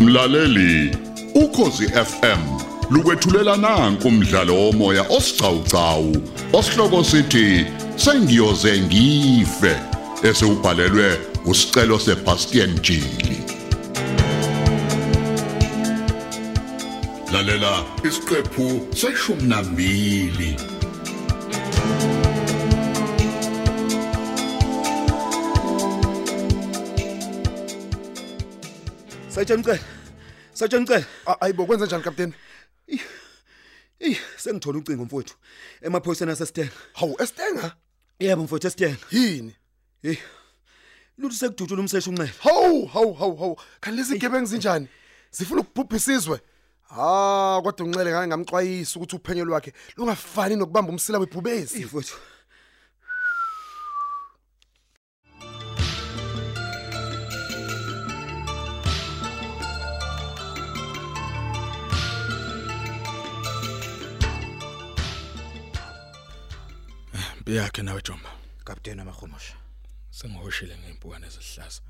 Mlaleli, ukhosi FM lukwethulela nanku umdlalo womoya osiqhawqhawo osihloko sithi sengiyoze ngife esewubhalelwe usicelo seBastian Jili. Lalela isiqephu seshumi nambili. Sayitshela umcele. Sayitshela umcele. A- Ayibo Ah, kwenza njani kapteni? Ih, sengithola ucingo mfowethu. Emaphoyiseni asesitenga. Hawu esitenga Yebo mfowethu esitenga. yini? Hey. Lutho sekudutshula umseshi unxele. Hawu hawu hawu hawu kanti lezi gebengu zinjani? Zifuna ukubhubha isizwe. Ah kodwa unxele ngake ngamxwayisa ukuthi uphenyo lwakhe lungafani nokubamba umsila webhubesi. Mfowethu. yakhe nawe Joma kapteni amahumusha sengihoshile ngezimpukane ezihlaza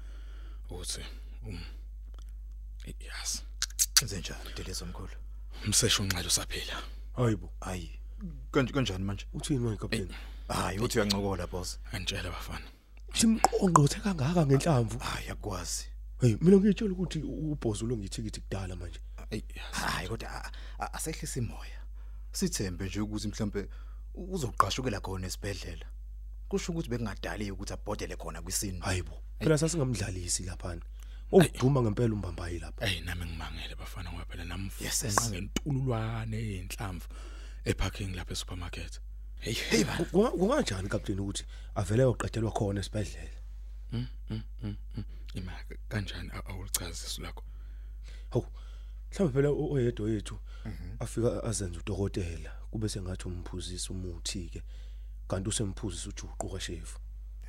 ukuthi um yes zenjani deleza omkhulu umseshu unxele usaphila Hayibo. hayi kanje kanjani manje Uthini manje kapteni? hayi uthi uyancokola boss angitshela bafana Simqonqothe kangaka ngenhlamvu. hayi akwazi Hey, mina ngitshela ukuthi ubhozi lo ngithikithi kudala manje. Ay, yes. hayi kodwa a- a- asehlisa imoya sithembe nje ukuthi mhlambe uzoqashukela khona esibhedlela kusho ukuthi bekungadali ukuthi abhodele khona kwisini Hayibo. Phela sasingamdlalisi lapha. Ukuduma ngempela umbambayi lapha. Ey nami ngimangele bafana ngoba phela nami Yes, ngqa yes. ngentululwane yeinhlamvu eparking lapha esupermarket. Hey hey Ku- kunga- Kunganjani kapteni ukuthi avele yoqedelwa khona esibedlela? ima kanjani a- awulichazisi lakho. Hawu. Mhlawumbe phela u- oyedwa yethu Mhm. afika azenze udokotela kube sengathi umphuzisa umuthi ke. Kanti usemphuzisa ujuqu kashefu.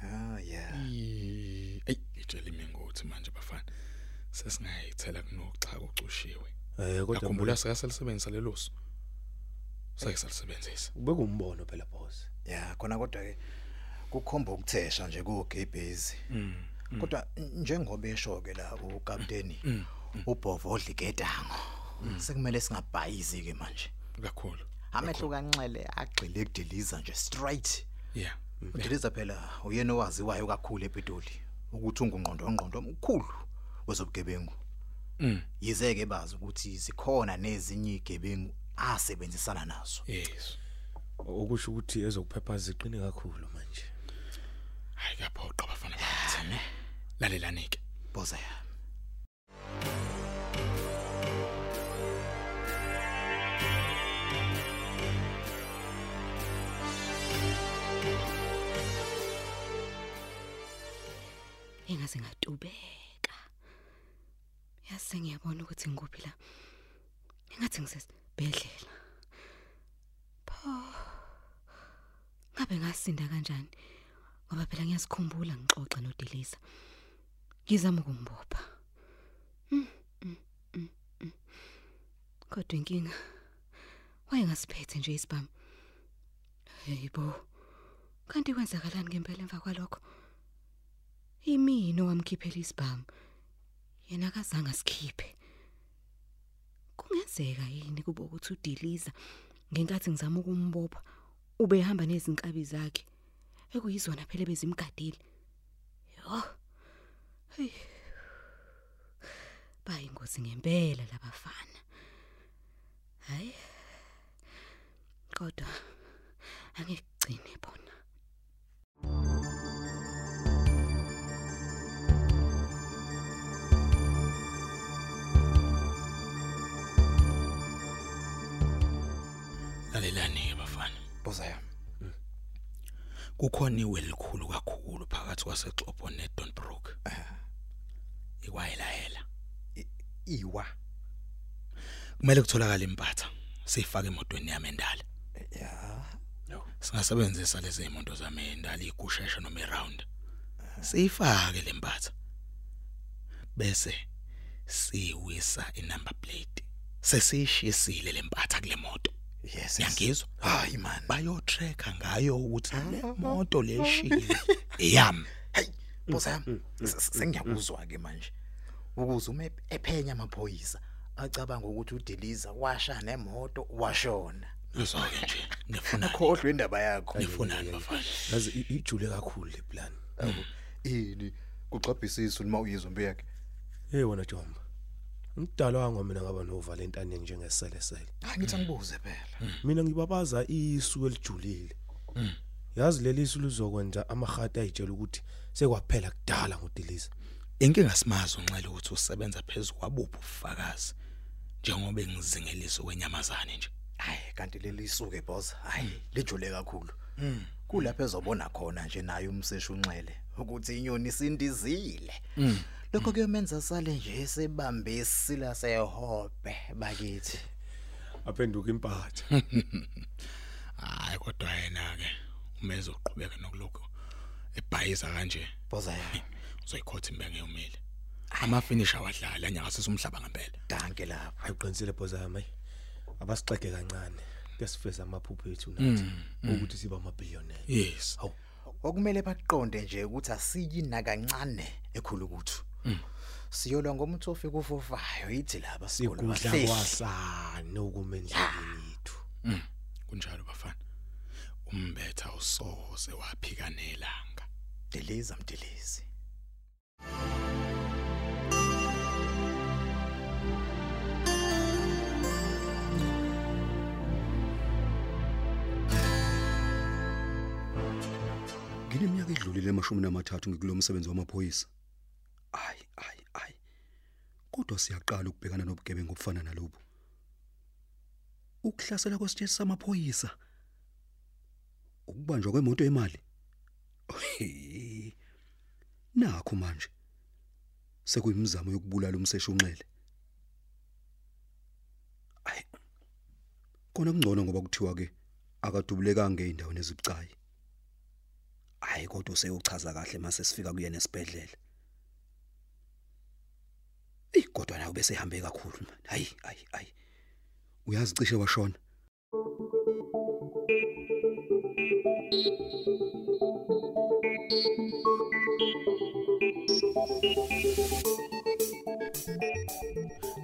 ah yeah Ey itshela imingothi manje bafana. Sesingayithela kunocha kucushiwe. Eh kodwa Yakhumbula sika selisebenzisa leloso. Sake salisebenzisa. bekumbono phela boss. yeah khona kodwa ke kukhomba ukuthesha nje kugebhezi Mm, kodwa njengoba esho ke la Mm, ukapteni ubhovodla igedango sekumele singabhayizi ke manje Kakhulu. amehlo kanxele agxile ekudiliza nje straight Yeah. udiliza phela uyena owaziwayo kakhulu epitoli ukuthi ungungqondo ongqondo omkhulu wezobugebengu Mm. yize ke bazi ukuthi zikhona nezinye igebengu asebenzisana nazo Yes. Okusho ukuthi ezokuphepha ziqine kakhulu manje. Hayi kaphoqa bafana bathi. Lalelani ke. boza yami engaze ngatubeka yazi sengiyabona ukuthi ngikuphi la engathi ngisesibhedlela pho ngabe ngasinda kanjani ngoba phela ngiyazikhumbula ngixoxa nodelisa ngizama ukumbopha Mm, mm, mm, mm. kodwa inkinga wayengasiphethe nje isibhamu heyibo kanti kwenzakalani ngempela emva kwalokho Imini owamkhiphela isibhamu. Yena akazange asikhiphe. Kungenzeka yini kube ukuthi udiliza ngenkathi ngizama ukumbopha ube ehamba nezinkabi zakhe ekuyizona phela bezimgadile. Yo. Hey. Bayingozi ngempela labafana. Hayi. Kodwa angekugcine bona. Lalelani ke bafana. boza yami kukhona iwe likhulu kakhulu phakathi kwaseXobo neDonbrook. Ah. Ikwayelahela. iwa Kumele kutholakale impatha sifake emotweni yami endala. ya Singasebenzisa lezi imoto zami endala igushesha noma iround. Ah. Sifake lempatha. Bese siwisa inumber plate. Sesishisile lempatha kule moto. yes Yangizwa? hayi man Mm. Bayo tracker ngayo ukuthi le moto leshile. Yami. Mm, hayi boza yami S- s- sengiyakuzwa ke manje ukuze uma ep- ephenya amaphoyisa acabanga ukuthi udiliza washa nemoto washona Uzwake nje ngifuna akhohlwe indaba yakho ngifunani bafana. yazi i- ijule kakhulu le plan ini kuxabhisisa uma uyizwa impi yakhe hey wona Jomba ngidalwa wanga mina ngaba novalentane njengeselesele angithi angibuze phela mina ngibabaza isu elijulile yazi leli isu lizokwenza amahata ayitshela ukuthi sekwaphela kudala ngudiliza Inkinga simazi unxele ukuthi usebenza phezulu kwabuphi ufakazi njengoba engizingeliso kwenyamazane nje. hayi kanti leli suke boss hayi lijule kakhulu kulapho ezobona khona nje naye umseshi unxele ukuthi inyoni isindizile lokho kuyomenza sale nje esebambesi lasehobe bakithi aphenduka impatha Hayi kodwa yena ke umeze uqhubeka nokuloko ebhayiza kanje boza yami uzoyikhotha imbenge yomile. Ama finisher wadlala nyakasisa umhlaba ngempela. danke lapho ayiqinisele bhoza yami ayi. abasixege kancane kuyasifeza amaphupho ethu nathi ukuthi siba amabillionaire Yes. Hawu okumele baqonde nje ukuthi asiyina kancane ekhulu kuthu Mm. siyolwa ngomuntu ofika ufofayo yithi laba sikolo sikudla bahlehli. kwasana ukuma endleleni yethu Mm, kunjalo bafana. Umbetha usoze waphikanelanga. deliza mdelizi ngineminyaka edlulile emashumi namathathu ngikulo msebenzi wamaphoyisa ayi ayi ayi kodwa siyaqala ukubhekana nobugebengu obufana nalobu ukuhlasela kwesiteshi samaphoyisa ukubanjwa kwemoto yemali Hey. nakho manje sekuyimizamo yokubulala umseshi unxele ayi kona kungcono ngoba kuthiwa ke akadubulekanga eindaweni ezibucayi hayi kodwa useyochaza kahle mase sifika kuyena esibedlela eyi kodwa nayo bese ehambe kakhulu man. hayi hayi hayi uyazi cishe washona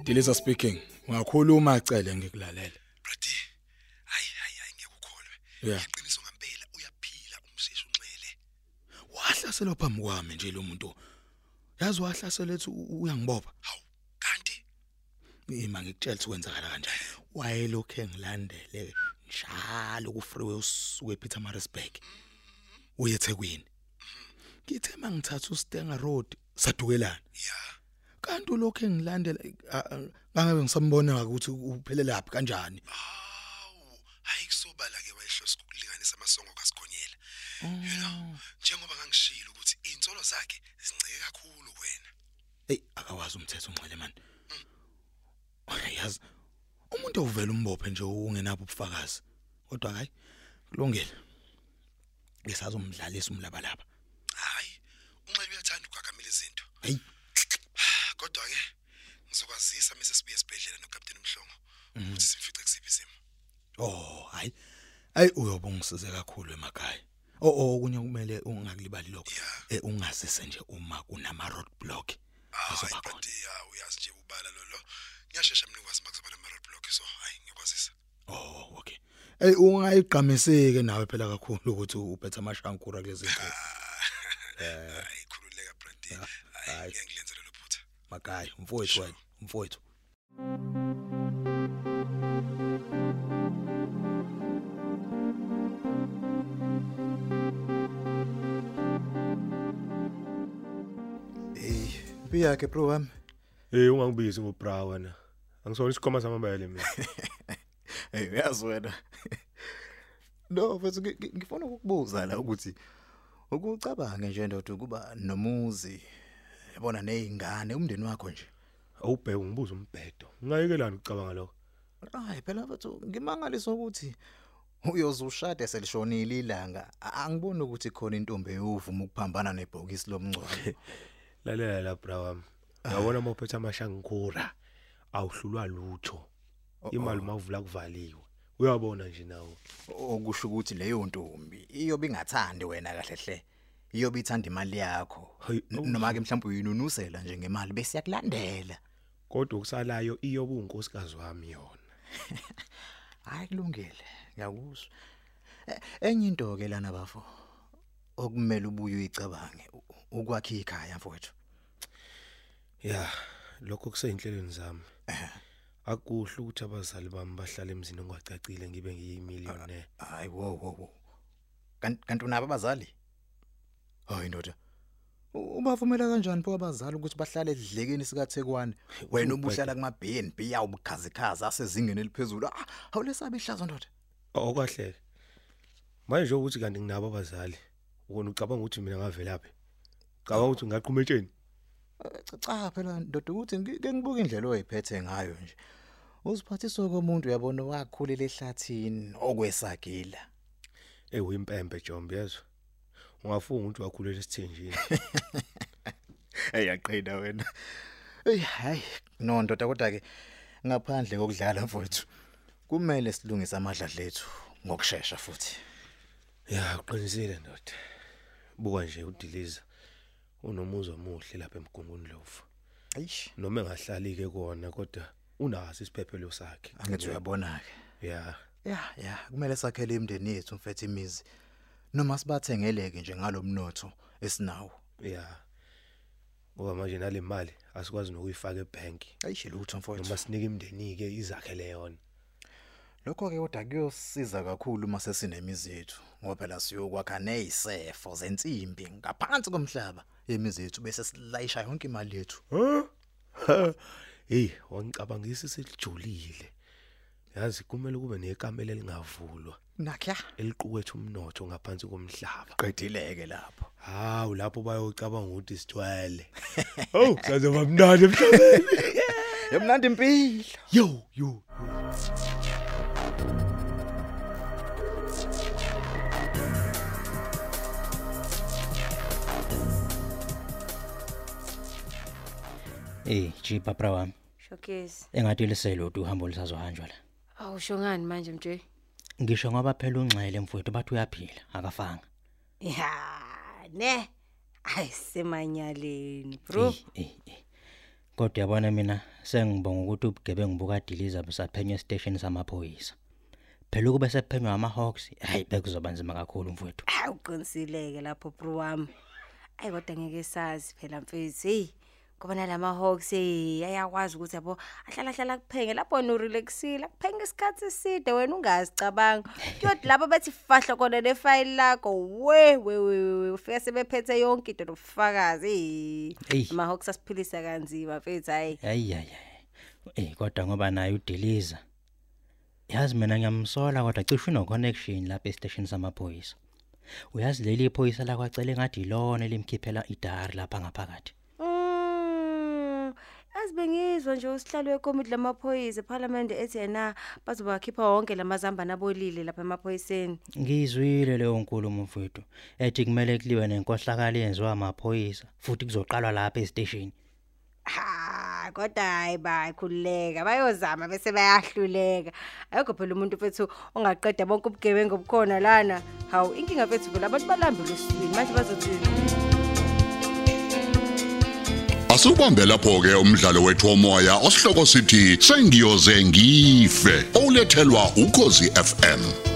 Diliza speaking. Ungakhuluma acele ngikulalela. Brady. Hayi hayi hayi ngeke ukholwe. Yeah. Iqiniso ngempela uyaphila umsisi unxele. Wahlaselwa phambi kwami nje lo muntu. Yazi wahlasela ethi u- uyangibopha. Hawu kanti Ima ngikutshela ukuthi kwenzakala kanjani. Wayelokhu engilandele njalo ku freeway usuke ePeter Maritzburg. Mm-hmm. Uye eThekwini. Ngithe mangithatha uStenga Road sadukelana. ya Kanti lokho engilandela a- a- ngangabe ngisambona ukuthi uphele laphi kanjani. hawu hayi kusobala ke wayehlose ukulinganisa amasongo kasikhonyela. You Mm. know njengoba ngangishilo ukuthi insolo zakhe zincike kakhulu kuwena. Ey akawazi umthetho unxele manje. Uyayazi umuntu ovela umbophe nje ungenabo ubufakazi. Kodwa hayi kulungile. Ngisazomdlalisa umlabalaba. Hayi unxele uyathanda ukugagamela izinto. Hayi Kodwa ke ngizokwazisa mse sibuye esibhedlela noCaptain Mhlongo Mhm. ukuthi sifice kusiphi isimo. Oh, hayi. Ayi uyobungisize kakhulu emakhaya. Oh, oh kunye kumele ungakulibali lokho. Eh ungazise nje uma kunama roadblock. Hayi Azoba khona. kanti ya uyazi nje ubala lo lo. Ngiyashesha mina ukwazi makuzoba nama roadblock so hayi ngikwazisa. Oh, okay. Ey ungayigqamiseke nawe phela kakhulu ukuthi ubetha amashankura kulezi zinto. hayi khululeka brady hayi ngiyangilenza lelo phutha Makhaya, mfowethu wena, mfowethu. hey impi yakhe bro wami hey ungangibizi ngobra Eh, wena angisona isikhoma samabele mina hey uyazi wena no futhi ngi- ngi- ngifuna ukukubuza la ukuthi ukucabange nje ndoda ukuba nomuzi yabona nezingane umndeni wakho nje awubheke ngibuza umbhedo ungayekelani ucabanga lokho hayi phela mfethu ngimangaliso ukuthi uyozushade selishonile ilanga A- angiboni ukuthi khona intombi eyovuma ukuphambana nebhokisi lomngcwabo lalela la bra wami uyabona uma uphethe amashankura awuhlulwa lutho imali uma uvula kuvaliwe uyabona nje nawo okusho ukuthi leyo ntombi iyobe ingathandi wena kahle hle iyobe ithanda imali yakho Hayi, N- awu. noma ke mhlawumbe uyinunusela nje ngemali bese yakulandela kodwa okusalayo iyoba unkosikazi wami yona hayi kulungile ngiyakuzwa E- enye into ke lana bafo okumele ubuye uyicabange u- ukwakha ikhaya mfowethu ya lokho kuseyinhlelweni zami akuhle ukuthi abazali bami bahlale emzini ongacacile ngibe ngiyimillionaire hayi wo wo wo kanti kanti unabo abazali hayi ndoda u- ubavumela kanjani pho abazali ukuthi bahlale edlekeni sikathekwane wena ubuhlala kuma BNB yawubukhazikhaza asezingeni eliphezulu Ah, awulesabe ihlazo ndoda okahleke manje ukuthi kanti nginabo abazali wona ucabanga ukuthi mina ngavelaphi cabanga ukuthi ngaqhumetsheni Cha- cha phela ndoda ukuthi ngi- ke ngibuka indlela oyiphethe ngayo nje uziphathiswa komuntu uyabona wakhulela ehlathini okwesagila ewimpempe jombe yezwa ungafunga ukuthi wakhulela esithenjini eyaqina wena ey hayi no ndoda kodwa ke ngaphandle kokudlala mfowethu kumele silungise amadla lethu ngokusheshsha futhi ya uqinisile ndoda buka nje udiliza unomuzwa omuhle lapha emgunguni lofu ayish noma engahlali ke kona kodwa unaso isiphephelo sakhe angithi uyabona ke ya ya ya kumele sakhele imndeni yethu mfethu imizi noma sibathengeleke nje ngalomnotho esinawo ya ngoba manje nale mali asikwazi nokuyifaka ebank ayish lutho mfowethu noma sinike imndeni ke izakhele yona Lokho ke kodwa kuyosiza kakhulu uma sesinemizi yethu ngoba phela siyokwakha nezisefo zensimbi ngaphansi komhlaba yemizi yethu bese silayisha yonke imali yethu. hey wangicabangisa selijulile yazi kumele kube nekamela elingavulwa Nakya eliqukethe umnotho ngaphansi komhlaba qedileke lapho. hawu lapho bayocabanga ukuthi sithwele oh sazo bamnandi emhlabeni Yemnandi impilo. yo yo Eh, jipa bra wami. Shokesi. Engathi liselodo uhambo lisazohanjwa la. Awusho ngani manje mje? Ngisho ngoba phela ungxele mfowethu bathi uyaphila, akafanga. Ya, ne. Ayisemanyaleni, bro. Eh, eh, eh. Kodwa yabona mina sengibonga ukuthi ubugebengu bukadiliza busaphenywe station samaphoyisa. Phela ukube sephenywa amahawks, hayi bekuzoba nzima kakhulu mfowethu. Hayi uqinisileke lapho bro wami. Ayi kodwa ngeke sazi phela mfethu. Hey, ngoba nalama hawks hey ayakwazi ukuthi yabo ahlala hlala kuphenge lapho no relaxile, akuphenge isikhathi eside wena ungazicabanga. Kodwa lapho bathi fahla kona le file lakho we we we we, ufika sebephethe yonke into nobufakazi. Hey, Eyi. ama hawks asiphilisa kanzima mfethu hayi. Hayi hayi. Eh, kodwa ngoba naye udiliza. Yazi mina ngiyamsola kodwa cishe uno connection lapha e-station samaphoyisa. Uyazi leli iphoyisa la kwacele ngathi ilona elimkhiphela idari lapha ngaphakathi. Mm. Asibengizwa nje usihlalo wekomiti lamaphoyisa eParliament ethi yena bazobakhipha wonke lamazamba nabolile lapha emaphoyiseni. Ngizwile leyo nkulumo mfethu ethi kumele kuliwe nenkohlakalo yenziwa amaphoyisa futhi kuzoqalwa lapha e-station. Ha, kodwa hayi bayikhuleka bayozama bese bayahluleka. Ayikho phela umuntu mfethu ongaqeda bonke ubugebengu obukhona lana. Hawu, inkinga mfethu phela abantu balambile esizini manje bazothini? Asubambe lapho ke umdlalo wethu womoya osihloko sithi sengiyoze ngife olethelwa ukozi FM